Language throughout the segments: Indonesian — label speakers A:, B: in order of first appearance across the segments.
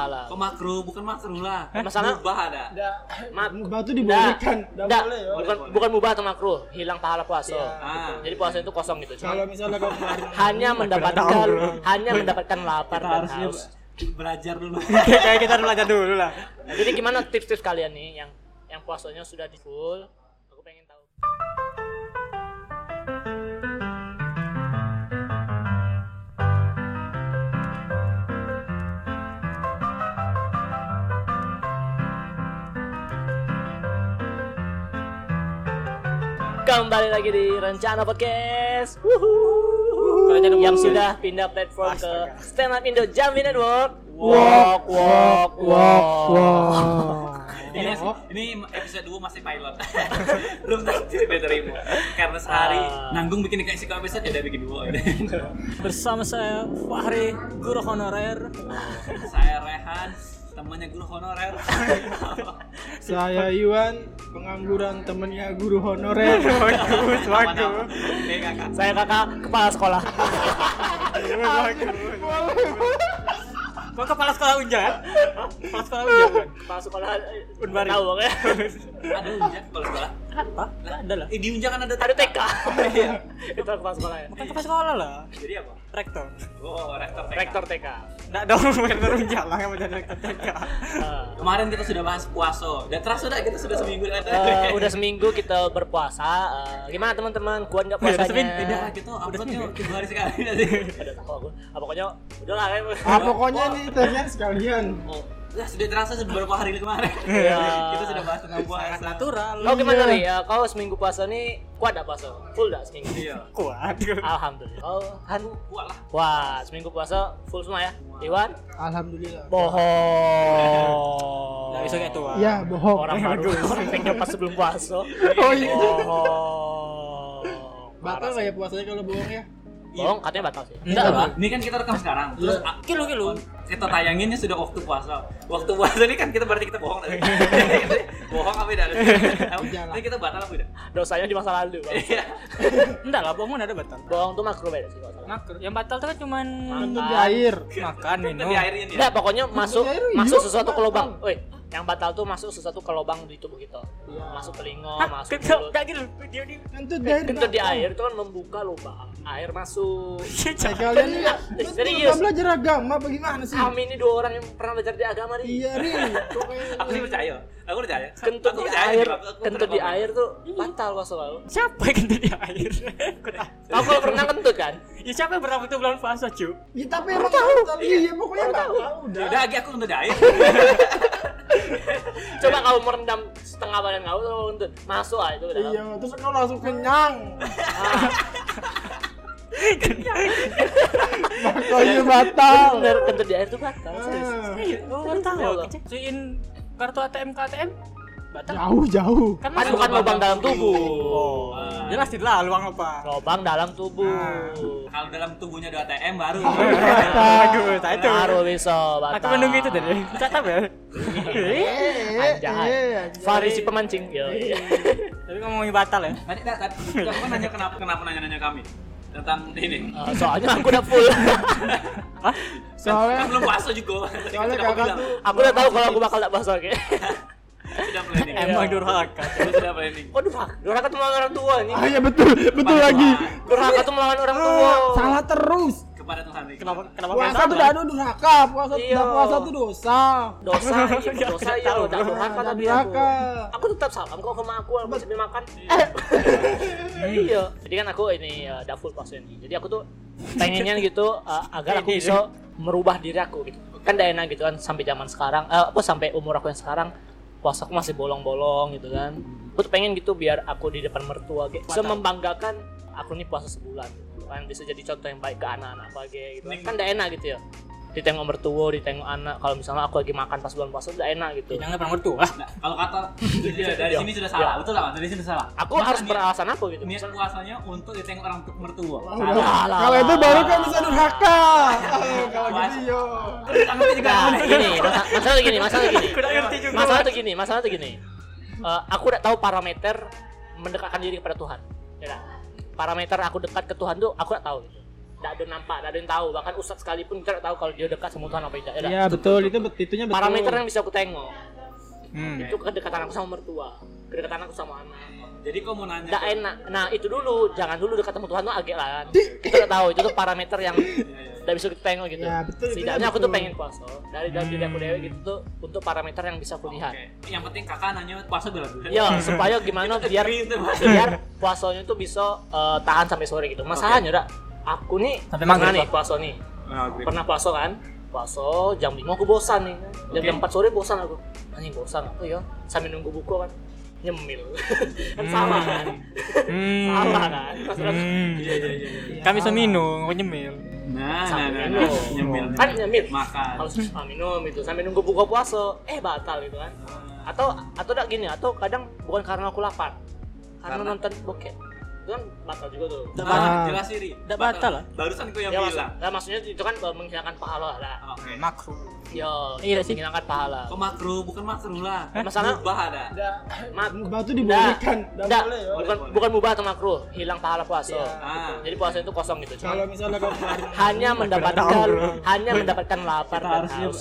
A: Salah.
B: Kok makruh? Bukan makruh lah.
A: Hah? Masalah-
B: mubah ada.
A: Mat-
C: Mubah tuh dibolehkan. Nggak
A: Nggak.
C: boleh, ya.
A: bukan,
B: Boleh,
A: bukan mubah atau makruh, hilang pahala puasa.
C: Iya.
B: Ah.
A: Jadi puasa itu kosong gitu. Cuma
C: Kalau misalnya kau kemarin
A: hanya mendapatkan hanya mendapatkan lapar
B: Kita
A: dan
B: harusnya
A: haus.
B: belajar dulu.
D: Kayak kita belajar dulu lah.
A: Nah, Jadi gimana tips-tips kalian nih yang yang puasanya sudah di full? Aku pengen tahu. Kembali lagi di Rencana Podcast. Wuhu.
D: Rencana
A: Yang
D: Podcast.
A: sudah pindah platform ke
D: Astaga.
A: Stand Up Indo Jambi Network.
C: Walk, walk, walk, walk.
B: ini,
D: iya.
B: masih- ini episode 2 masih pilot. Belum tentu diterima. Karena sehari
A: Ah.
B: nanggung bikin kayak satu episode ya udah bikin dua.
D: Bersama saya Fahri, guru honorer.
B: Saya Rehan, temannya guru honorer.
C: Saya Iwan, pengangguran temennya guru honorer.
D: Bagus,
B: Nama-nama. Oke, kakak.
A: Saya kakak kepala sekolah.
D: Kok kepala sekolah unjat? Kepala sekolah unjat kan?
A: kepala sekolah eh,
D: Unbari.
A: tahu pokoknya.
B: Ada unjak kalau sekolah.
D: Apa? Lah, ada lah.
B: Eh di unjak kan ada
A: Ada TK. Itu kepala sekolah ya.
D: Iya. Bukan kepala sekolah lah.
B: Jadi apa?
D: Rektor.
B: Oh, rektor TK.
A: Rektor TK.
D: Nggak dong, rektor unjat lah yang menjadi rektor TK.
A: Eh,
B: Kemarin kita sudah bahas puasa. Dan terasa udah kita sudah seminggu ada.
A: eh, udah seminggu kita berpuasa. Eh, gimana teman-teman? Kuat nggak
D: Iya, Udah
A: puasanya?
D: seminggu,
B: Udah gitu uploadnya tiga hari sekali nanti.
A: Udah tahu aku. Ah, pokoknya udahlah kan.
C: Ah pokoknya nih terlihat sekalian.
B: Oh, lah sudah terasa sudah beberapa hari kemarin.
A: Iya.
B: kita sudah bahas tentang puasa.
D: Sangat natural.
A: Kau gimana
D: Iya.
A: nih? Eh, kau seminggu puasa nih kuat nggak puasa? Full nggak seminggu?
B: Iya.
D: Kuat.
A: Alhamdulillah. Kau Han?
B: Kuat lah.
A: Wah, seminggu puasa full semua ya. Iwan?
C: Alhamdulillah.
A: Bohong.
D: Nggak bisa kayak tua.
C: Ya bohong.
A: orang baru orang pengen pas sebelum puasa
C: Oh iya.
A: oh
C: Batal nggak ya puasanya kalau bohong ya?
A: bohong katanya batal sih
B: Enggak lah. Ini kan kita rekam sekarang. Terus ah,
D: Kilu kilu.
B: kita tayanginnya sudah waktu puasa. Waktu puasa ini kan kita berarti kita bohong tadi. bohong apa tidak?
C: Iya lah.
B: Ini kita batal apa tidak?
A: dosanya di masa lalu Bang.
B: Iya.
D: Enggak lah, bohongan ada batal.
A: bohong tuh makro beda sih kalau salah.
D: Makro. Yang batal tuh kan cuman
C: Untuk di air.
D: makan, Kan minum.
B: Tapi akhirnya nih.
A: Enggak, pokoknya masuk
C: air hidup
A: masuk sesuatu ke
C: batal.
A: lubang. Woi, yang batal tuh masuk sesuatu ke lubang di tubuh kita.
C: Iya.
A: Masuk telinga, masuk mulut.
D: Enggak gitu. Dia di
C: Untuk di air.
A: Kentut di air itu kan membuka lubang. Air masuk.
C: Nah, kalian nih ya.
A: Serius.
C: Serius. belajar agama bagaimana sih?
A: Kami ini dua orang yang pernah belajar di agama nih.
C: Iya ri. Pokoknya
B: Aku sih percaya. Aku percaya.
A: Kentut
B: Aku
A: di
B: percaya,
A: air,
B: Bang. Aku
A: kentut di
B: percaya.
A: air tuh batal puasa kau.
D: Siapa yang kentut di air? Kau tahu?
A: Kau kalau pernah kentut kan?
D: ya siapa yang pernah waktu bulan puasa, cu?
C: Ya, tapi emang tahu. Iya pokoknya tahu.
B: Ya Udah lagi aku kentut di air.
A: Coba kau merendam setengah badan kau tuh kentut. Masuk aja itu udah. Ah,
C: Iya, terus kau langsung kenyang. Makanya batal.
A: Bener, kentut di air tuh batal. serius.
C: Ah,
D: Oh, baru tahu.
A: Iya, Bang.
D: Cuin kartu ATM ke ATM batal.
C: Jauh jauh.
D: Kan
A: Kan bukan lubang dalam tubuh.
D: Oh. Jelas lah luang apa.
A: Lubang dalam tubuh.
B: Kalau dalam tubuhnya ada ATM baru.
C: Iya.
D: Bagus, nah itu.
A: Baru bisa batal.
D: Aku menunggu itu tadi. Tak tahu ya.
C: Eh,
A: Anjay.
C: eh,
A: Fahri si pemancing. Yo, iya.
D: Tapi ngomongin batal ya.
B: Tadi tadi tadi aku kan nanya kenapa kenapa nanya-nanya kami tentang ini.
A: Eh, Soalnya aku udah full.
D: Hah?
B: Kan
C: Soalnya
B: belum puasa juga. Tadi kan
C: soalnya
B: sudah aku
C: kakak
B: bilang.
C: tuh
A: aku udah tahu kalau aku bakal tak bahas oke.
B: sudah planning.
D: Emang durhaka.
B: Kita sudah planning.
A: Waduh, Pak. Durhaka tuh melawan orang tua nih.
C: Ah ya betul, betul lagi.
A: Durhaka tuh melawan orang tua.
C: Ah, Salah terus.
B: Kepada Tuhan.
D: Kenapa kenapa
C: Puasa tuh udah ada durhaka, puasa
A: Iya.
C: udah puasa tuh dosa.
A: Dosa, iya, dosa iya,
D: Tahu,
A: udah durhaka
C: Ada
A: tapi aku.
C: durhaka.
A: Aku tetap salam kok sama aku aku sambil makan. iya. Jadi kan aku ini uh, udah full puasa ini. Jadi aku tuh pengennya gitu uh, agar aku
D: Ini.
A: bisa merubah diri aku gitu. Kan udah enak gitu kan sampai zaman sekarang eh apa sampai umur aku yang sekarang puasa aku masih bolong-bolong gitu kan. Aku tuh pengen gitu biar aku di depan mertua gitu. Bisa membanggakan aku nih puasa sebulan gitu kan bisa jadi contoh yang baik ke anak-anak apa gitu kan. kan udah enak gitu ya ditengok mertua, ditengok anak. Kalau misalnya aku lagi makan pas bulan puasa, udah enak gitu.
D: Jangan pernah mertua.
B: Nah, kalau kata Iya, dari sini sudah salah, betul lah, Mas? dari sini salah.
A: Aku
B: Masa
A: harus
B: niat-
A: beralasan apa gitu.
B: Niat
A: Misalnya,
B: puasanya untuk ditengok orang tu- mertua.
C: Udah.
B: Salah.
A: Lah, lah,
C: Kalau itu
A: lah,
C: baru
A: lah,
C: kan
A: lah,
C: bisa
A: lah.
C: durhaka. Eh, Kalau gitu
B: Puasa.
C: yo.
B: Terus tangannya Kan juga
A: Nah,
B: aneh.
A: gini, masa- masalah gini, masalah gini.
D: Kurang ngerti juga.
A: Masalah tuh gini, masalah tuh gini. Eh, aku udah tahu parameter mendekatkan diri kepada Tuhan. Ya, kan? parameter aku dekat ke Tuhan tuh aku udah tahu gitu. tidak ada yang nampak, tidak ada yang tahu. Bahkan ustadz sekalipun kita tidak tahu kalau dia dekat sama Tuhan apa tidak. Ya,
D: Iya betul itu bet- itunya betul.
A: Parameter yang bisa aku tengok
D: Hmm.
A: itu kedekatan aku sama mertua, kedekatan aku sama anak.
B: Jadi kau mau nanya?
A: Tidak enak. Nah itu dulu, jangan dulu dekat sama Tuhan tuh agak lah. Kita nggak tahu itu tuh parameter yang tidak bisa kita tengok gitu.
C: Iya, Ya, betul,
A: Setidaknya
C: betul,
A: aku tuh
C: betul.
A: pengen puasa dari dalam diri aku dewe gitu tuh untuk parameter yang bisa aku lihat.
B: Oke. Yang penting kakak nanya puasa bela diri.
C: Iya.
A: Ya supaya gimana biar
B: Itu Mas.
A: biar puasanya tuh bisa eh, tahan sampai sore gitu. Masalahnya udah aku nih
D: Sampai
A: pernah nih
D: maghrib,
A: puasa nih.
D: Nah, gue-
A: Pernah puasa kan? Puasa jam 5 aku bosan nih. kan. Jam,
B: Oke.
A: jam 4 sore bosan aku. Anjing bosan aku ya. Sambil nunggu buku kan nyemil. kan salah kan?
D: Hmm.
A: salah kan? Pas udah-
D: Hmm.
B: Iya iya iya. iya.
D: Kami bisa minum, aku nyemil.
B: Nah, nah,
A: Sambil
B: nah, nah.
A: minum.
B: nyemil.
A: kan nyemil
B: Makan.
A: harus ah, minum itu sambil nunggu buka puasa eh batal gitu kan atau atau tak gini atau kadang bukan karena aku lapar karena,
B: Karena?
A: nonton bokep itu kan batal juga tuh
B: Nah,
D: batal.
B: jelas Siri.
D: Nggak batal lah.
B: Barusan kau yang
A: ya, maksud-
B: bilang.
A: ya, maksudnya itu kan eh, menghilangkan pahala lah
B: Oke.
D: Makro.
A: yo
D: Iya sih.
A: menghilangkan pahala
B: Kau makro bukan makro lah.
A: Hah? Masalah-
B: Mubah ada.
A: Ma-
C: Batu dibolehkan.
A: Nggak.
C: Nggak
A: Nggak.
C: boleh, ya.
A: bukan
B: Boleh,
A: bukan mubah atau makruh hilang pahala puasa Gitu.
C: Iya.
B: Ah.
A: jadi puasa itu kosong gitu
C: Kalau
A: cuma
C: misalnya kau Nah,
A: hanya mendapatkan hanya mendapatkan lapar
B: Kita
A: dan
B: harusnya
A: haus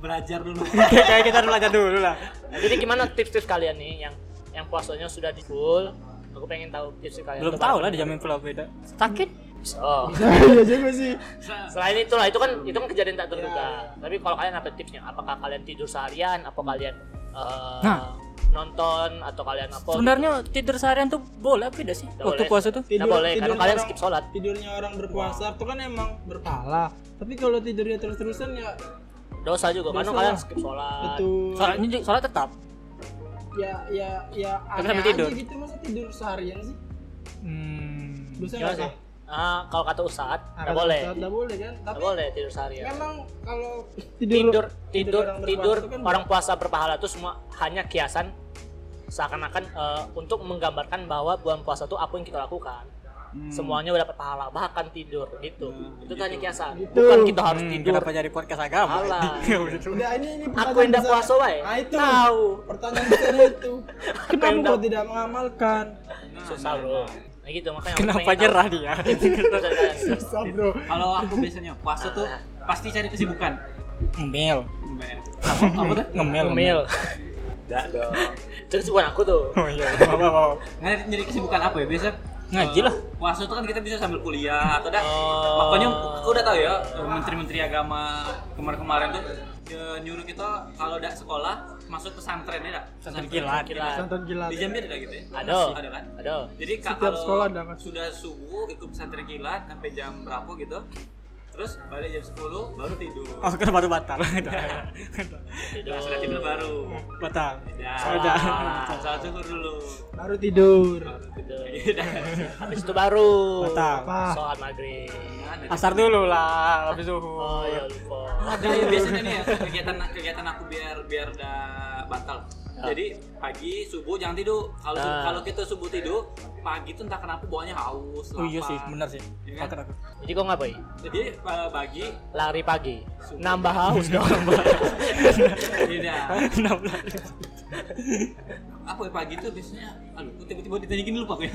B: belajar dulu.
D: Kayak kayak kita harus belajar dulu lah.
A: Nah, Jadi gimana tips-tips kalian nih yang yang puasanya sudah di full? Aku pengen tahu tips kalian.
D: Belum
A: tuh,
D: tahu
A: Pak.
D: lah dijamin pulau beda. Hmm. Sakit.
A: Oh.
C: Iya juga sih. Iya.
A: Selain itu lah, itu kan itu kan kejadian tak terduga. Tapi kalau kalian apa tipsnya? Apakah kalian tidur seharian? Apa kalian eh,
D: Hmm. Nah.
A: nonton atau kalian apa?
D: Sebenarnya tidur seharian tuh boleh apa tidak sih?
A: Nggak
D: Waktu
A: boleh.
D: puasa tuh.
A: Nggak boleh, karena kalian
C: orang-
A: skip sholat.
C: Tidurnya orang berpuasa itu kan emang berpahala. Tapi kalau tidurnya terus-terusan ya
A: Dosa juga karena
C: Dosa.
A: kalian skip sholat.
C: betul.
D: Sholatnya juga- sholat tetap.
C: Ya ya ya
D: Tapi
C: aneh
D: sambil tidur.
C: aja gitu masa tidur seharian sih.
D: Hmm.
C: Dosa
A: Gimana
C: nggak
A: iya sih?
C: sih?
A: Ah, kalau kata Ustaz,
C: Kata
A: nggak boleh.
C: Ustaz, Nggak boleh kan?
A: Nggak
C: Tapi
A: boleh tidur seharian.
C: memang kalau
A: Tidur tidur
C: orang berpuasa
A: tidur
C: itu kan
A: orang puasa berpahala itu semua hanya kiasan seakan-akan eh, untuk menggambarkan bahwa bulan puasa itu apa yang kita lakukan. semuanya udah dapat pahala bahkan tidur gitu itu tanya kiasan
C: Gitu.
A: bukan kita harus
D: Hmm,
A: tidur
D: Kenapa jadi podcast agama? Ya
A: Alah.
C: Enggak, ini ini
A: aku
C: pertanyaan
A: yang tidak
C: besar.
A: puasa wae
C: Nah, itu.
A: tahu
C: Pertanyaan besarnya itu. Kenapa
A: yang
C: kau tidak mengamalkan?
A: susah bro nah gitu makanya aku
D: Kenapa
A: pengen
D: nyerah dia?
A: tahu.
C: Susah, Bro.
B: Kalau aku biasanya puasa tuh pasti cari kesibukan. ya?
D: Ngemil.
B: Apa, apa tuh?
D: Ngemil.
A: Ngomel.
B: Enggak dong.
A: terus bukan aku tuh
D: Oh iya. Apa apa. apa.
B: Nggak nyari kesibukan apa ya? Biasa eh,
D: Ngaji lah.
B: puasa tuh kan kita bisa sambil kuliah atau dah.
A: Oh.
B: Makanya aku udah tahu ya menteri-menteri agama kemarin-kemarin tuh eh, nyuruh kita kalau udah sekolah masuk pesantren ya dah.
D: Pesantren kilat.
C: Santan kilat.
B: Di Jambi ada gitu ya?
A: ada
B: Ada kan?
A: ada
B: Jadi ka-
C: Setiap
B: kalau
C: sekolah ada, Mas.
B: sudah subuh ikut pesantren kilat sampai jam berapa gitu. Terus balik jam 10 baru tidur.
D: Oh kan baru batal.
B: Nah, sudah tidur baru.
D: batal.
B: Ya.
D: Sudah.
B: Salat zuhur dulu.
C: Baru tidur.
B: Baru tidur.
A: habis itu baru
D: Batal.
C: Apa?
A: sholat maghrib
D: Asar dulu lah, habis zuhur.
A: oh ya lupa
B: Nah, ini biasanya nih ya, kegiatan kegiatan aku biar biar udah batal. Jadi pagi subuh jangan tidur. Kalau
A: Nah.
B: kalau kita subuh tidur, pagi tuh entah kenapa bawahnya haus,
D: Oh iya
B: lapar.
D: sih, benar sih.
B: Iya kan?
D: Sakit aku.
A: jadi kok ngapain
B: Jadi eh, pagi
A: lari pagi nambah haus dong
B: tidak
D: 16.
B: apa ya pagi itu biasanya aduh gua tiba-tiba ditanya gini lupa gue ya.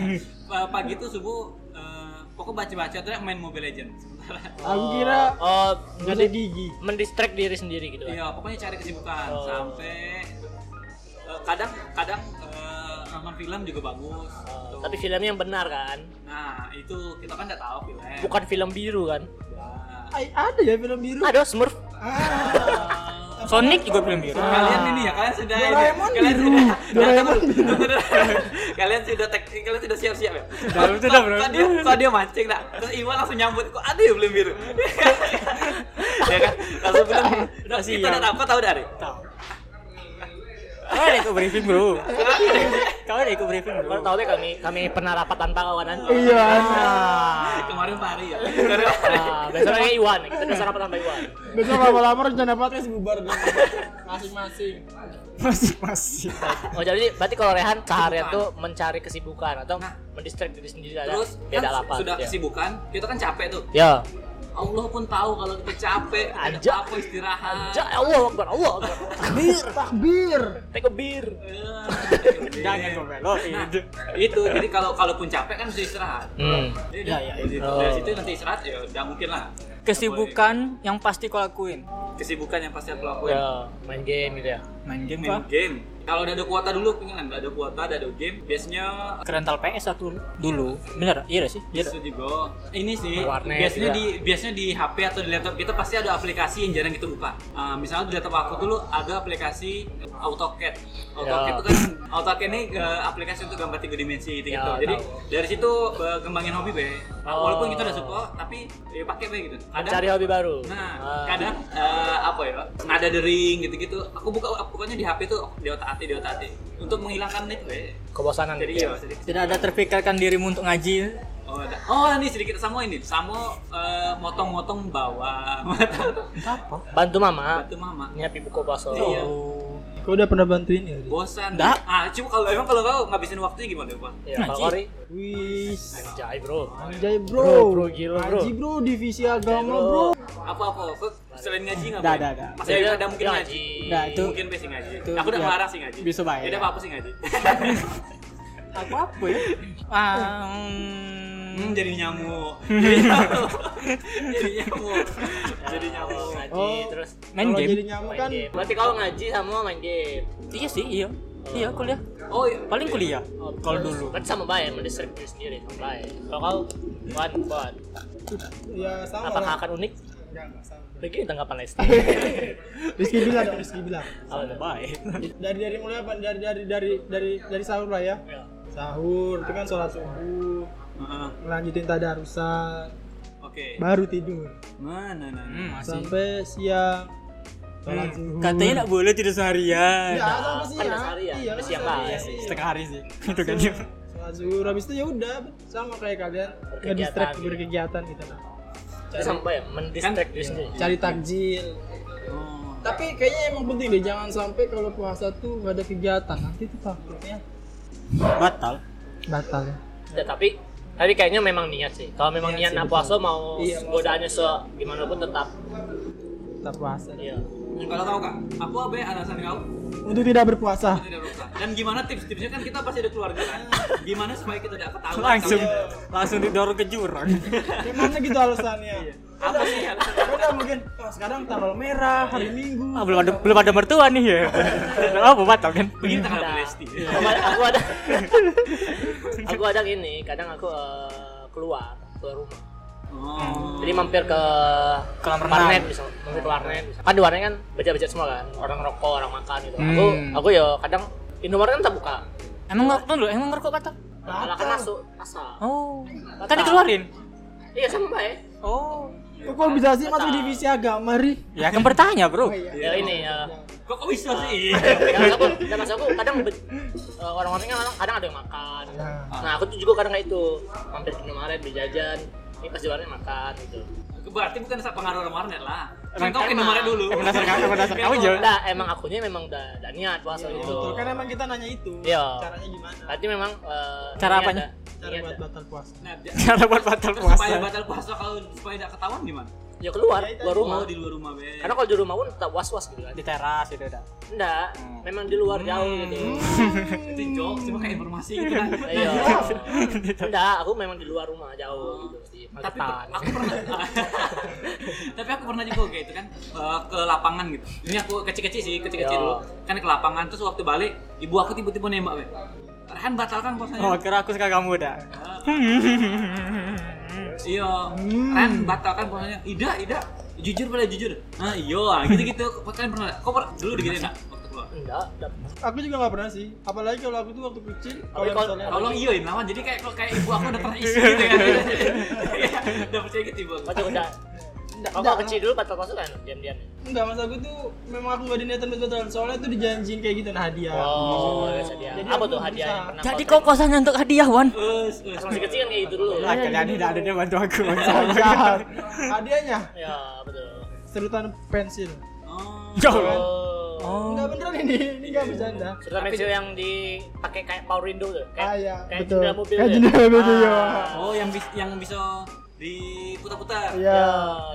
B: Pa- pagi itu subuh eh, pokoknya baca-baca terus main Mobile Legends sementara
C: Aku kira
A: oh
C: enggak ada
A: jadi
C: gigi.
A: mendistract diri sendiri gitu kan
B: iya pokoknya cari kesibukan
A: Oh.
B: sampai eh, kadang kadang eh, nonton film juga bagus gitu.
A: tapi filmnya yang benar kan
B: nah itu kita kan nggak tahu film
A: bukan film biru kan
B: Nah,
C: Ay, ada ya film biru.
A: ada Smurf
C: Ah.
D: Sonic juga film biru.
B: kalian ini ya kalian sudah ini,
C: Doraemon
B: kalian
C: biru.
B: sudah Nah,
C: Doraemon
B: Tunggu, tunggu, tunggu. kalian sudah tek kalian sudah siap-siap ya
D: Baru itu dah, bro.
B: Kok dia kok dia mancing dah terus Iwan langsung nyambut kok ada ya belum biru ya kan langsung bilang udah kita
D: siap.
B: udah dapat tahu dari
D: Tahu. Kau ada ikut briefing bro. Kau ada ikut briefing bro.
A: Baru tahu deh kami kami pernah rapat kan, tanpa kawanan.
C: Iya.
B: kemarin Fahri ya Kemarin Fahri.
A: Nah, besoknya Iwan, kita dasar rapat tanpa Iwan.
C: Besok lama-lama rencana podcast bubar dong. Masing-masing.
D: Masih masih.
A: Oh jadi berarti kalau Rehan seharian tuh mencari kesibukan atau
B: Nah.
A: mendistract diri sendiri ada
B: terus
A: beda
B: kan
A: lapan.
B: sudah
A: ya.
B: kesibukan kita kan capek tuh
A: Ya.
B: Allah pun tahu kalau kita capek,
A: Ajak.
B: ada apa istirahat.
A: Ja, Allah Akbar, Allah Akbar.
C: takbir takbir
A: Tekbir.
B: Eh,
D: Jangan iya.
B: gitu.
D: ngomelin.
B: Nah, itu jadi kalau kalaupun capek kan bisa istirahat.
A: Hmm.
B: Jadi
D: Ya, ya,
B: dari-
A: gitu.
B: dari situ nanti istirahat ya udah mungkin lah.
D: Kesibukan yang pasti kau lakuin.
B: Kesibukan yang pasti aku lakuin.
A: Ya, main game gitu ya.
D: Main game
B: Main
D: kah?
B: game. Kalau udah ada kuota dulu, kan udah ada kuota, udah ada game. Biasanya
D: Kerental PS satu dulu. Bener? Iya nggak sih? Iya.
B: bisa dibawa. Ya. Ini sih
A: Warnet ya.
B: biasanya
A: juga.
B: di biasanya di HP atau di laptop kita pasti ada aplikasi yang jarang kita buka. Ah, misalnya di laptop aku dulu ada aplikasi AutoCAD. AutoCAD
A: Ya.
B: itu kan AutoCAD ini eh, aplikasi untuk gambar tiga dimensi gitu.
A: Ya,
B: Jadi
A: tahu.
B: dari situ eh, kembangin hobi be. Nah,
A: Oh.
B: Walaupun kita udah suka, tapi ya pakai be gitu. Kadang-
A: Cari hobi baru.
B: Nah,
A: Ah.
B: kadang eh, apa ya? Nada dering gitu-gitu. Aku buka pokoknya di HP tuh di otak atik di otak atik untuk menghilangkan itu ya.
A: kebosanan.
B: Jadi
A: gitu
B: ya
A: ya.
B: sedikit.
D: Tidak ada terpikirkan dirimu untuk ngaji.
B: Oh, ada. oh ini sedikit sama ini, sama eh, motong-motong bawang,
D: Apa?
A: Bantu mama
B: batu mama.
A: nyiapin buku bakso.
D: Oh.
B: Iya.
C: kau udah pernah bantuin ya Di?
B: Bosan.
D: Nggak.
B: Ah, cuma kalau emang kalau kau ngabisin waktunya gimana, Pak?
A: Ya,
D: Ngaji.
A: Pak Kori.
C: wis
A: Anjay, Bro.
C: anjay
A: Bro,
C: bro
A: bro, gila, bro.
C: Haji, bro divisi agama bro
B: Apa-apa? Kau selain ngaji
D: Nggak,
B: ngapain?
D: nggak, nggak.
B: Masih ada, ada ya, mungkin
A: Dia
B: ngaji.
D: Nggak, itu
B: Mungkin besi ngaji.
D: Itu ya,
B: Aku udah
D: biar-
B: ngelarang sih ngaji.
D: bisa bayar.
B: Ya udah apa sih ngaji?
D: Aku apa ya?
B: Hmm, jadi nyamuk. Jadi nyamuk. jadi nyamuk. Jadi nyamuk.
A: Ngaji
C: Oh.
A: terus
D: main
C: Kalau
D: game.
C: jadi nyamuk
A: main
C: kan
A: game. Berarti kau ngaji sama main game.
D: Iya sih, iya. Iya kuliah.
B: Oh, iya.
D: Paling kuliah. Kalau dulu.
A: Oh, Berarti sama baik mendesak diri sendiri sama baik. Kalau kau buat buat
C: ya sama
A: apakah
C: lah
A: akan unik?
C: Ya, nggak sama.
A: Begini tanggapan Lesti.
C: Rizky bilang dong, Rizky bilang
A: Apa tuh?
D: Bye.
C: dari dari mulai apa dari dari dari dari dari sahur lah ya
A: Ya.
B: Iya.
C: sahur itu kan sholat subuh
B: Heeh,
C: melanjutin tadarusan
B: Oke.
C: baru tidur
B: Mana nah.
D: Hmm, masih.
C: sampai siang sholat zuhur
D: Katanya nggak boleh tidur seharian.
C: ya sampai
A: Hmm. Kan
C: siang
A: dasar ya,
C: iya
A: sampai
C: kan
A: siang
C: dasar
A: lah,
C: ya,
A: sih.
C: iya.
D: Setengah hari sih. Itu
A: ya?
D: kan dia.
C: sholat zuhur habis itu ya udah sama kayak kalian
A: Berkegiatan,
C: nggak distract
A: gitu.
C: berkegiatan gitu lah
A: Itu sama baik mendistract
B: Kan?
A: diri sendiri.
C: cari takjil
B: Oh.
C: tapi kayaknya emang penting deh jangan sampai kalau puasa tuh gak ada kegiatan nanti tuh takutnya
D: Batal.
C: batal ya
A: Ya, tapi tapi kayaknya memang niat sih. Kalau memang niat
C: Iya sih,
A: nak
C: betul.
A: puasa mau
C: Iya, mau
A: godaannya se gimana pun tetap.
C: tak puasa
A: Iya.
B: Kalau kau kak, apa be alasan kau
C: untuk tidak berpuasa
B: tidak rusak? Dan gimana tips-tipsnya kan kita pasti ada keluarga kan? Gimana supaya kita tidak ketahuan?
D: Langsung
B: kalau-
D: langsung didorong ke jurang.
C: gimana gitu
A: Iya.
C: alasannya
B: Apa sih alasan?
C: Udah mungkin oh, sekarang tanggal merah hari Minggu.
D: Ah, belum ada belum ada mertua nih ya. Apa batal kan?
B: Begini tanggal
A: Ada.
B: Lesti.
D: Iya.
A: Aku ada, aku ada, aku ada ini. Kadang aku eh, keluar keluar rumah.
B: Oh.
A: Jadi mampir ke
D: Kolam renang.
A: warnet bisa, mampir ke warnet. Bisa. Kan di warnet kan baca-baca semua kan, orang rokok, orang makan gitu.
D: Hmm.
A: Aku aku ya kadang Indomaret kan tak buka.
D: Emang nggak tunggu dulu, emang ngerokok batal?
A: Malah kan masuk asal.
D: Oh. Tadi keluarin.
A: Iya sama baik.
D: Oh.
C: Kok kok bisa sih masuk divisi agama, Ri?
D: Ya kan bertanya, Bro.
A: Ya ini ya.
B: Kok kok bisa sih?
A: Dan Ya, aku, dan maksud aku kadang be- eh, orang-orang kan kadang, kadang ada yang makan.
C: Ah.
A: Nah aku tuh juga kadang kayak itu mampir ke Indomaret beli jajan. Ini pas di warnet makan gitu.
B: Berarti bukan asal pengaruh orang warnet lah.
D: Emang-
B: Contoh ke nomornya dulu.
D: Emang dasar kamu, emang dasar kamu jauh.
A: Nah emang akunya memang udah, udah niat puasa
C: Iya,
A: gitu.
C: Betul, kan emang kita nanya itu.
A: Iya.
C: Caranya gimana?
A: Berarti memang eh,
D: Cara
A: niat
D: apanya?
A: dah.
C: Cara
A: Niat
C: buat
A: dah.
C: batal puasa.
B: Nah, ja-
D: Cara buat batal
B: terus supaya
D: puasa.
B: batal puasa kalau supaya tidak ketahuan gimana?
A: Ya keluar,
C: Ya, itu
A: keluar rumah.
B: Oh, di luar rumah be.
A: Karena kalau di rumah pun tetap was-was gitu kan.
D: Di teras itu udah.
A: Enggak,
D: Hmm.
A: memang di luar jauh gitu.
B: itu jok, cuma kayak informasi gitu kan.
A: Iya. Enggak, aku memang di luar rumah jauh gitu di
B: tapi
A: Magetan.
B: aku pernah tapi aku pernah juga kayak itu kan eh, ke lapangan gitu ini aku kecil-kecil sih kecil-kecil
A: Ya.
B: dulu kan ke lapangan terus waktu balik ibu aku tiba-tiba nembak be Rehan batalkan puasanya
D: Oh, kira aku suka kamu dah.
B: iya Rehan batalkan puasanya Ida Ida jujur pada jujur ah iya gitu-gitu kalian pernah kok pernah dulu digituin nggak waktu keluar
A: Enggak, enggak.
C: Aku juga nggak pernah sih. Apalagi kalau aku tuh waktu kecil, kalau
A: kalau-
C: misalnya
B: tolong iyain lawan jadi kayak kalau kayak ibu aku udah terisi gitu kan udah percaya gitu ibu aku
A: Kau juga enggak.
C: Nggak,
A: Kau
C: nggak.
A: kecil dulu batal masuk kan diam-diam.
C: enggak masa aku tuh memang aku gak diniatan buat batal. Soalnya tuh dijanjiin kayak gitu nah hadiah.
A: Oh, ada hadiah.
C: Jadi
A: Apa
C: aku
A: tuh hadiah yang
C: berusaha.
A: pernah
D: Jadi
A: kau
D: kok kosannya untuk hadiah, Wan?
B: Us, us.
A: terima? masih kecil kan kayak gitu dulu.
D: Lah,
C: Iya.
D: kalian ini tidak ada dia bantu aku. kan?
C: Jahat. Hadiahnya
A: Ya, betul.
C: serutan pensil.
B: Oh.
D: Jauh.
A: Oh.
C: Enggak beneran ini, ini enggak bercanda.
A: Sudah pensil yang dipakai kayak Power Rindu tuh, kayak
C: Ah, iya,
A: kayak
C: betul.
A: jendela mobil.
C: Kayak
A: tuh ya?
C: jendela mobil, iya.
A: Ah.
B: Oh, yang bis- yang bisa
A: Ya,
B: diputar-putar.
C: Iya.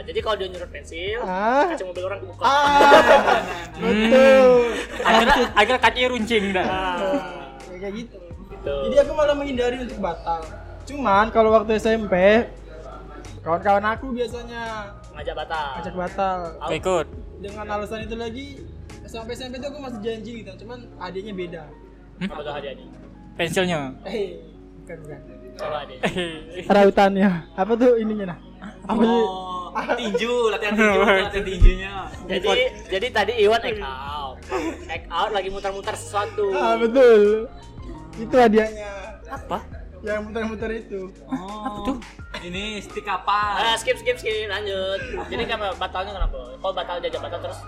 A: jadi kalau dia nyurut pensil,
C: Ah.
A: kaca mobil orang kebuka.
C: Ah,
B: Nah, nah, nah.
C: betul.
D: Hmm. Akhirnya akhirnya kacanya runcing dah.
A: Ah,
C: Ya, kayak gitu.
A: gitu.
C: Jadi aku malah menghindari untuk batal. Cuman kalau waktu SMP kawan-kawan aku biasanya
A: ngajak batal.
C: ajak batal
D: Gak ikut.
C: dengan alasan itu lagi sampai SMP itu aku masih janji gitu cuman adanya beda
A: Apa tuh hadiahnya?
D: Pensilnya.
C: eh bukan bukan
A: Coba deh.
C: Eh, rautannya apa tuh ininya nah apa sih
B: Oh, tinju, latihan tinju, latihan tinjunya.
A: Jadi jadi tadi Iwan egg out. Egg out lagi muter-muter sesuatu.
C: ah betul itu hadiahnya
D: Apa?
C: yang muter-muter itu
B: Oh, apa tuh? Ini stick
A: Ah,
B: apa?
A: skip skip skip lanjut. Jadi kenapa batalnya kenapa? Kalau batal diajak batal terus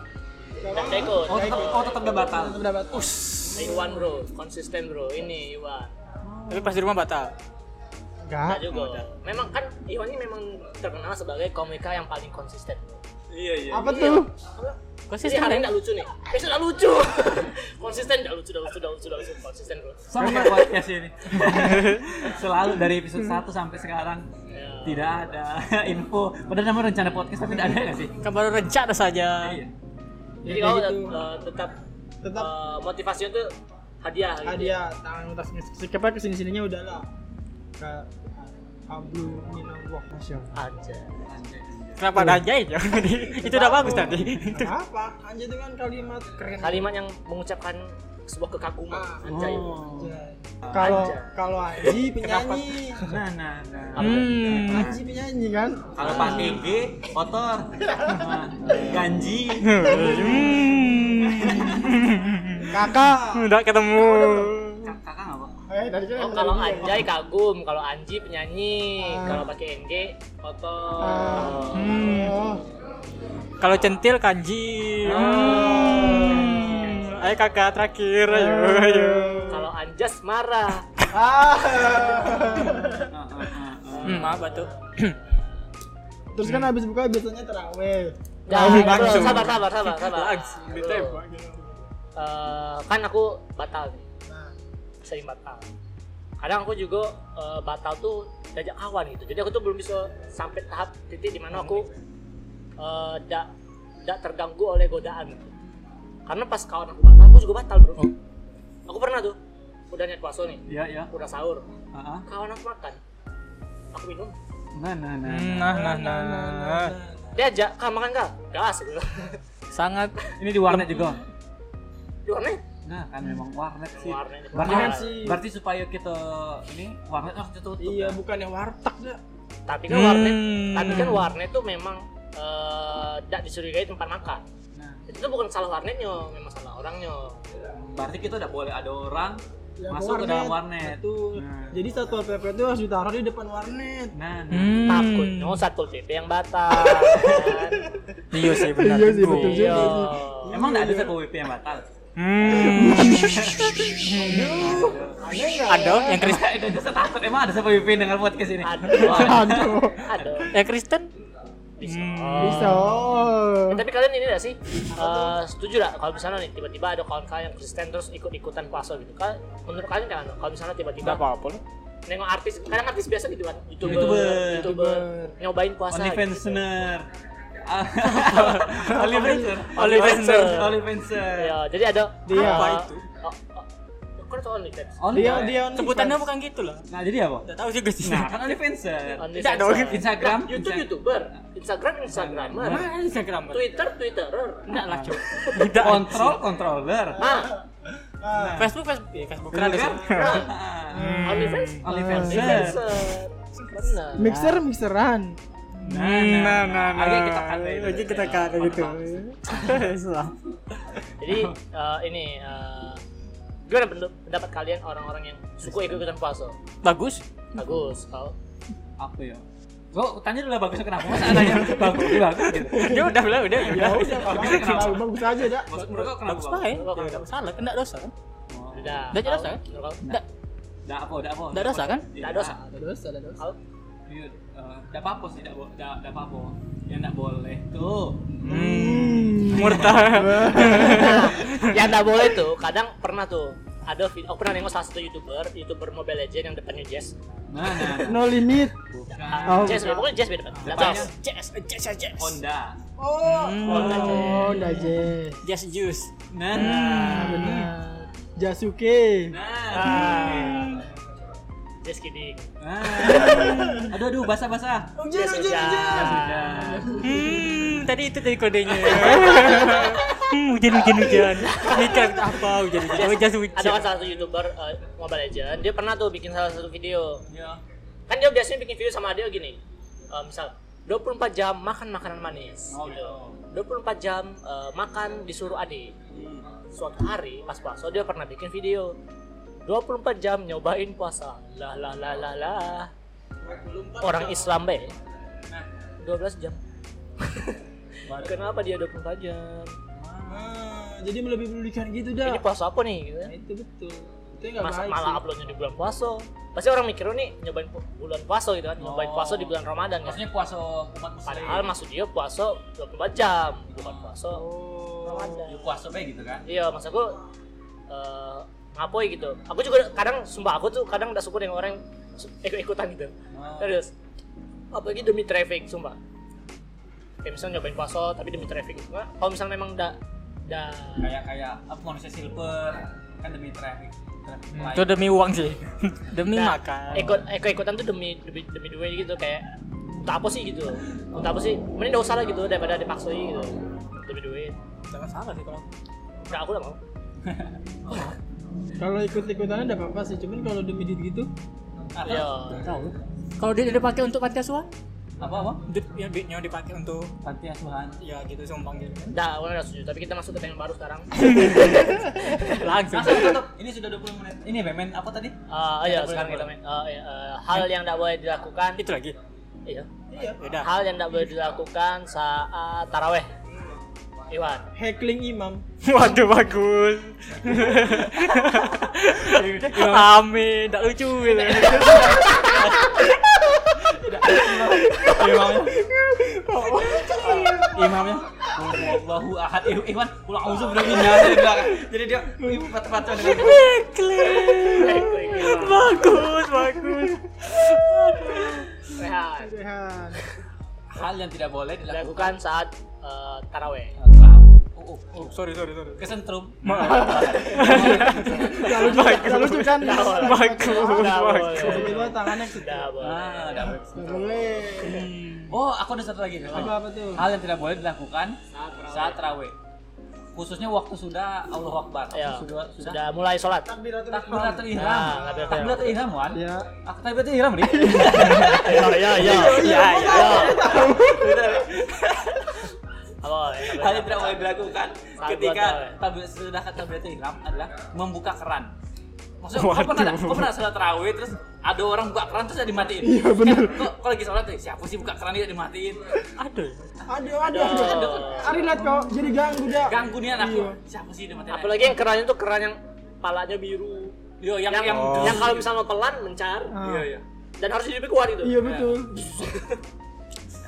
A: nggak nggak ikut.
B: Oh, tetap, oh, tetap udah batal.
C: Tetap dapat us
A: Iwan bro, konsisten bro. Ini Iwan.
D: Tapi pas di rumah batal.
A: Nggak
C: enggak
A: juga. Memang kan Iwan ini memang terkenal sebagai komika yang paling konsisten.
B: Iya, iya.
C: apa tuh Ya,
A: Konsisten hari ini nggak lucu nih. Besok nggak lucu. konsisten nggak lucu, nggak lucu, nggak lucu, nggak lucu. Konsisten bro.
B: Sama kayak podcast ini. Selalu dari episode 1 sampai sekarang
A: Ya.
B: tidak ada info. Padahal namanya rencana podcast tapi tidak ada nggak sih?
D: Kan baru rencana saja.
B: Iya.
A: Jadi
C: Ya,
A: kau
C: kayak gitu.
A: eh, tetap
C: Tetap.
A: eh, motivasinya tuh hadiah. gitu.
C: hadiah Nah, tangan atas sikapnya kesini sininya udah lah ke Ablu Minallah Masya Allah
A: Aja.
D: Kenapa ada anjay? Itu udah bagus tadi.
C: Kenapa? Anjay dengan kalimat keren
A: Kalimat yang mengucapkan sebuah kekaguman.
C: Ah.
A: Anjay.
B: Oh.
C: Anjay. Kalau
A: Anjay.
C: kalau Haji penyanyi,
B: Nah, nah, nah.
D: Hmm.
C: Haji penyanyi kan?
B: Kalau Pak EG, kotor, Nah, ganji.
C: Kakak.
D: Udah ketemu.
B: Kakak nggak apa?
C: Eh tadi kan
A: Oh,
C: yang
A: kalau
C: tadi dia.
A: Anjay kagum, kalau Anji penyanyi,
C: Ah.
A: kalau pakai NG foto.
C: Ah.
D: Hmm.
C: Oh.
D: Kalau centil kanji. Hmm. Ayo kakak terakhir. Ayo,
C: Oh.
D: ayo.
A: Kalau Anjas marah.
C: Ah.
B: Ah, ah, ah, ah.
D: Hmm, maaf batuk.
C: Terus kan habis buka biasanya terawih.
A: Jangan, Nah, bro.
C: Nah,
D: langsung.
A: sabar, sabar, sabar, sabar. Bro,
D: gitu.
A: eh, kan aku batal nih,
C: Nah,
A: sering batal. Kadang aku juga eh, batal tuh diajak kawan gitu. Jadi aku tuh belum bisa sampai tahap titik di mana aku tidak terganggu oleh godaan. gitu. Karena pas kawan aku batal, aku juga batal bro.
D: Oh.
A: Aku pernah tuh, udah niat puasa nih,
B: Ya, ya.
A: udah sahur,
B: Ah, ah.
A: kawan aku makan, aku minum,
B: Nah, nah, nah.
D: Hmm,
B: nah.
D: Nah, nah, nah.
A: dia ajak kak makan kak gas gitu
D: Sangat
B: nah. Ini di warnet juga.
A: di warnet
B: Nah, kan memang warnet sih.
A: Warnet.
B: Berarti,
C: Warnet
B: kan-
C: sih.
B: berarti supaya kita ini warnet harus ditutup. ya?
C: Iya, bukannya warteg ya.
A: tapi kan warnet
D: Hmm.
A: tapi kan warnet tuh memang eh, tidak dicurigai tempat makan
B: Nah,
A: itu tuh bukan salah warnetnya memang salah orangnya
B: berarti kita udah boleh ada orang
C: Ya,
B: masuk ke dalam warnet.
C: Betul.
B: Nah.
C: Jadi satpol pp itu harus ditaruh di depan warnet.
B: Nah, nah.
D: hmm.
A: takutnya satpol pp yang batal kan?
D: Iya sih benar.
C: Iya sih, betul
A: iya
C: juga.
B: Emang nggak ada sih WP yang batal?
D: Hmm.
C: Ada nggak?
D: Ada yang Kristen,
B: Nggak ada saya takut. Emang ada sih WP yang dengar podcast ini?
A: aduh
C: Aduh.
A: aduh
D: yang Kristen.
A: bisa
C: Bisa. Oh.
A: Eh, tapi kalian ini gak sih eh, setuju gak kalau misalnya nih tiba-tiba ada kawan kalian yang Kristen terus ikut-ikutan puasa gitu kan menurut kalian kan kalau misalnya tiba-tiba
D: apa-apa loh.
A: nengok artis kadang artis biasa gitu kan youtuber
B: YouTuber.
A: YouTuber. nyobain puasa
B: Only
A: gitu.
B: fansener. Only fansener.
A: Only fansener.
B: Only fansener.
A: ya jadi ada
C: Dia.
A: apa Oh, itu
C: Apa
D: itu?
A: kan itu only fans
B: Only.
C: Dia Iya, dia only
D: Sebutannya
C: fans.
D: bukan gitu loh.
B: Nah, jadi apa?
D: Enggak tahu juga sih.
B: Nah, kan only fansener.
A: Only
D: Tidak
A: fans.
D: dong.
B: Instagram,
A: Nah, YouTube
B: Insta-
A: youtuber Instagram instagramer
D: Mana Instagram?
A: Twitter twitterer
D: Enggak lah, Cuk. Tidak.
B: Kontrol, controller.
A: nah
C: Ah.
D: Facebook Facebook ya, Facebook kan ada
B: Bener kan?
D: sih.
B: Ah.
A: only fans
B: Only
C: Ah.
A: only
B: fansener.
A: fans benar
C: Mixer mixeran.
D: Nah, Hmm, nah, nah, nah.
B: Akhirnya kita kan itu.
D: Akhirnya kita kan gitu. Islam.
A: jadi eh, ini eh, gimana pendu- pendapat kalian orang-orang yang suka ikut-ikutan puasa
D: Bagus.
A: bagus kalau
B: Apa ya? Gua tanya dulu lah bagusnya kenapa? Masa tanya bagus bagus gitu.
D: Dia udah bilang udah
C: Ya
D: udah.
C: udah, bagus,
B: kenapa?
C: bagus aja dah.
B: Maksud menurut kau kenapa?
D: Bagus
B: bagus?
D: baik. Enggak salah, kena dosa kan?
B: Oh.
A: udah
D: Iya. Udah jelas,
A: kalau-
D: ya?
A: menurut kau-
D: Enggak
B: Nggak apa, nggak apa.
D: enggak dosa kan?
A: tidak dosa
C: Ada dosa, ada dosa.
A: Kalau
B: Iya, eh, nggak apa-apa sih, nggak bo- nggak nggak apa-apa. Yang nggak boleh tuh.
D: Murtad. Hmm.
A: Ya, Nah, yang nggak boleh tuh kadang pernah tuh ada video aku pernah nengok salah satu youtuber youtuber Mobile Legend yang depannya Jazz
B: Nah, nah, nah.
C: No limit.
A: Ah,
C: Oh,
A: Jazz
C: bukan.
A: pokoknya Jazz depan
D: Jazz.
A: Jazz Jazz Jazz Jazz
B: Honda.
C: Oh,
A: Honda
D: Hmm.
C: oh, Honda Jazz.
D: Just juice.
B: Nah,
C: Nah,
B: nah.
C: benar. Jasuke.
B: Nah.
A: Jazz Kidding
B: Nah. Aduh aduh basah-basah.
C: Ujian, ujian, ujian.
A: Ah.
B: Sudah.
D: Hmm, tadi itu tadi kodenya. hmm, hujan hujan hujan. Mikir apa hujan hujan. Oh, just hujan.
A: ada kan salah satu youtuber eh, Mobile Legend dia pernah tuh bikin salah satu video
B: Ya.
A: kan dia biasanya bikin video sama dia gini eh, misal 24 jam makan makanan manis
B: Oh,
A: gitu.
B: oh.
A: 24 jam eh, makan disuruh adik suatu hari pas puasa dia pernah bikin video 24 jam nyobain puasa lah lah lah lah lah orang Islam be 12 jam kenapa dia 24 jam
C: Ah, jadi lebih merugikan gitu dah.
A: ini puasa apa nih gitu kan.
C: Nah, itu betul. Itu yang nggak
A: Masa
C: baik
A: malah
C: sih.
A: uploadnya di bulan puasa pasti orang mikir "Oh, nih nyobain pu- bulan puasa gitu kan nyobain
B: Oh.
A: puasa di bulan Ramadan kan
B: Maksudnya puasa umat muslim.
A: padahal maksud dia puasa 24 jam bukan puasa Ramadan
B: Ya, puasa baik gitu kan.
A: iya maksud aku eh ngapain gitu aku juga kadang sumpah aku tuh kadang udah suka dengan orang yang su- ikut-ikutan gitu terus apalagi demi traffic sumpah kayak misalnya nyobain puasa tapi demi traffic Nah, kalau misalnya memang udah udah
B: Kayak kayak apa manusia silver kan demi traffic traffic
D: Hmm,
B: light.
D: Itu demi uang sih. demi
A: udah
D: makan.
A: ikut ikut ikutan tuh demi demi demi duit gitu kayak untuk apa sih gitu untuk apa sih mending gak usah lah gitu daripada dipaksoi gitu demi duit
D: Jangan salah sih kalau.
A: udah aku udah mau
C: Kalau ikut-ikutannya enggak apa-apa sih, cuman kalau demi duit gitu
B: Apa?
A: ya
B: Iya.
D: Tahu. Kalau dia dipakai untuk panti asuhan,
B: Apa apa?
D: duit- ya duitnya dipakai untuk
B: Panti asuhan.
D: ya gitu sumpang gitu.
A: udah aku udah setuju tapi kita masuk ke tema baru sekarang
D: Langsung.
B: Langsung tutup. Ini sudah 20 menit. Ini Batman apa tadi?
A: Eh, iya sekarang kita main eh, iya, eh, hal yang tidak boleh dilakukan
D: Itu lagi.
A: iya
C: Iya.
D: Udah.
A: hal yang tidak boleh dilakukan saat taraweh Iwan
C: heckling imam.
D: Waduh bagus.
B: Iya.
D: Amin, tak lucu gitu.
B: Imamnya. Imamnya. Allahu ahad. Eh, Iwan, pulang auzu udah minyak dari belakang. Jadi dia ibu patah-patah dengan
D: Klik. Bagus, bagus.
A: Rehan
C: Sehat.
B: hal yang tidak boleh dilakukan.
A: dilakukan saat eh, taraweh
B: Oh, oh, oh.
D: Sorry, sorry, sorry.
B: Kesentrum. Ya,
C: Enggak lucu, enggak lucu kan?
A: Nggak boleh. Nggak boleh.
C: Tiba-tiba tangannya ke
A: Nggak boleh
B: Ah, dapat.
C: Nggak boleh. Hmm.
B: Oh, aku ada satu lagi. ada satu lagi.
C: Apa apa tuh?
B: Hal yang tidak boleh dilakukan saat raweh. Khususnya waktu sudah Allah Akbar.
A: ya
B: Sudah sudah
A: sudah mulai sholat
C: Takbiratul
B: takbiratul ihram.
A: Nah, takbiratul ihram.
B: Takbiratul ihram, Wan.
C: Ya.
B: Aku takbiratul ihram, Ri.
A: ya ya ya ya ya apa
B: Hal yang tidak boleh dilakukan
A: Saat
B: ketika
A: buat raweh.
B: takbir sudah takbiratul ihram adalah membuka keran. Maksudnya, kau pernah, nggak- kau pernah sholat raweh terus ada orang buka keran terus tidak dimatiin. Iya benar. Kok, kok lagi sholat nih? Siapa sih buka keran tidak dimatiin?
D: Aduh.
C: Aduh, aduh, aduh. Arilat kau jadi ganggu dah.
B: Ganggu nian aku.
C: Iya.
B: Siapa sih yang dimatiin?
A: apalagi yang kerannya tuh keran yang palanya biru
B: Yo, yang
A: yang yang,
B: yang,
A: kalau misalnya pelan mencar
C: Ah,
B: Iya, iya.
A: dan harus hidupnya keluar gitu
C: Iya betul.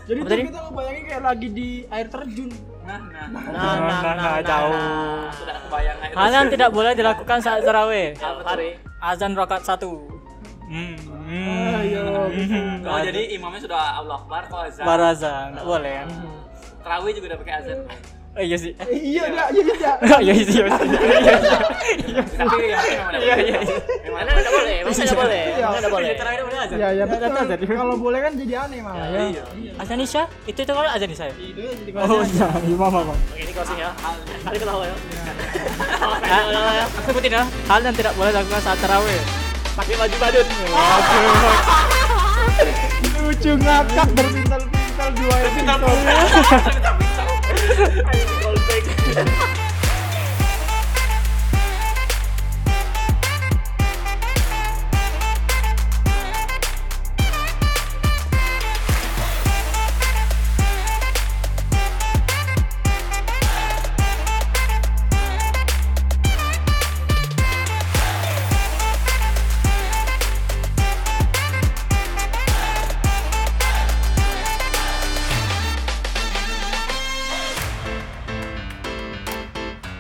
C: Jadi
D: Apa
C: tuh
D: tadi?
C: kita ngebayangin kayak lagi di air terjun.
B: Nah, nah.
A: nah nah nah, nah,
D: jauh.
A: nah.
B: Sudah kebayang aja.
D: Hal yang tidak boleh dilakukan saat tarawih.
A: Ya, Fahri.
D: Azan rakaat satu. Hmm.
C: Ah, iya, betul.
B: Oh, jadi imamnya sudah Allah Akbar kalau azan.
D: Baru azan, nggak boleh kan?
B: Terawih juga udah pakai azan.
D: Eh, iya sih.
C: Eh, Iya, dah, iya, iya.
D: Eh, Iya sih, iya sih. Iya sih.
B: Tapi ya, memang ada.
D: Iya, iya.
B: Memang
A: Mana
B: ada.
A: nggak boleh, masa nggak boleh,
C: Iya.
A: masa nggak boleh.
D: Terakhir boleh azan.
C: Iya, iya
D: Nggak ada azan.
C: betul. Kalau boleh kan jadi aneh malah ya.
D: Iya. Azan Isya? Itu itu kalau azan Isya. ya?
C: Itu jadi
D: Oh,
C: banyak.
D: iya, imam apa?
A: Oke, ini closing ya. Tadi ketawa ya.
D: Nah, Aku sebutin ya. Hal yang tidak boleh dilakukan saat tarawih.
A: Pakai baju badut.
C: Lucu ngakak berpintal-pintal dua pintal.
A: Ayo, call back.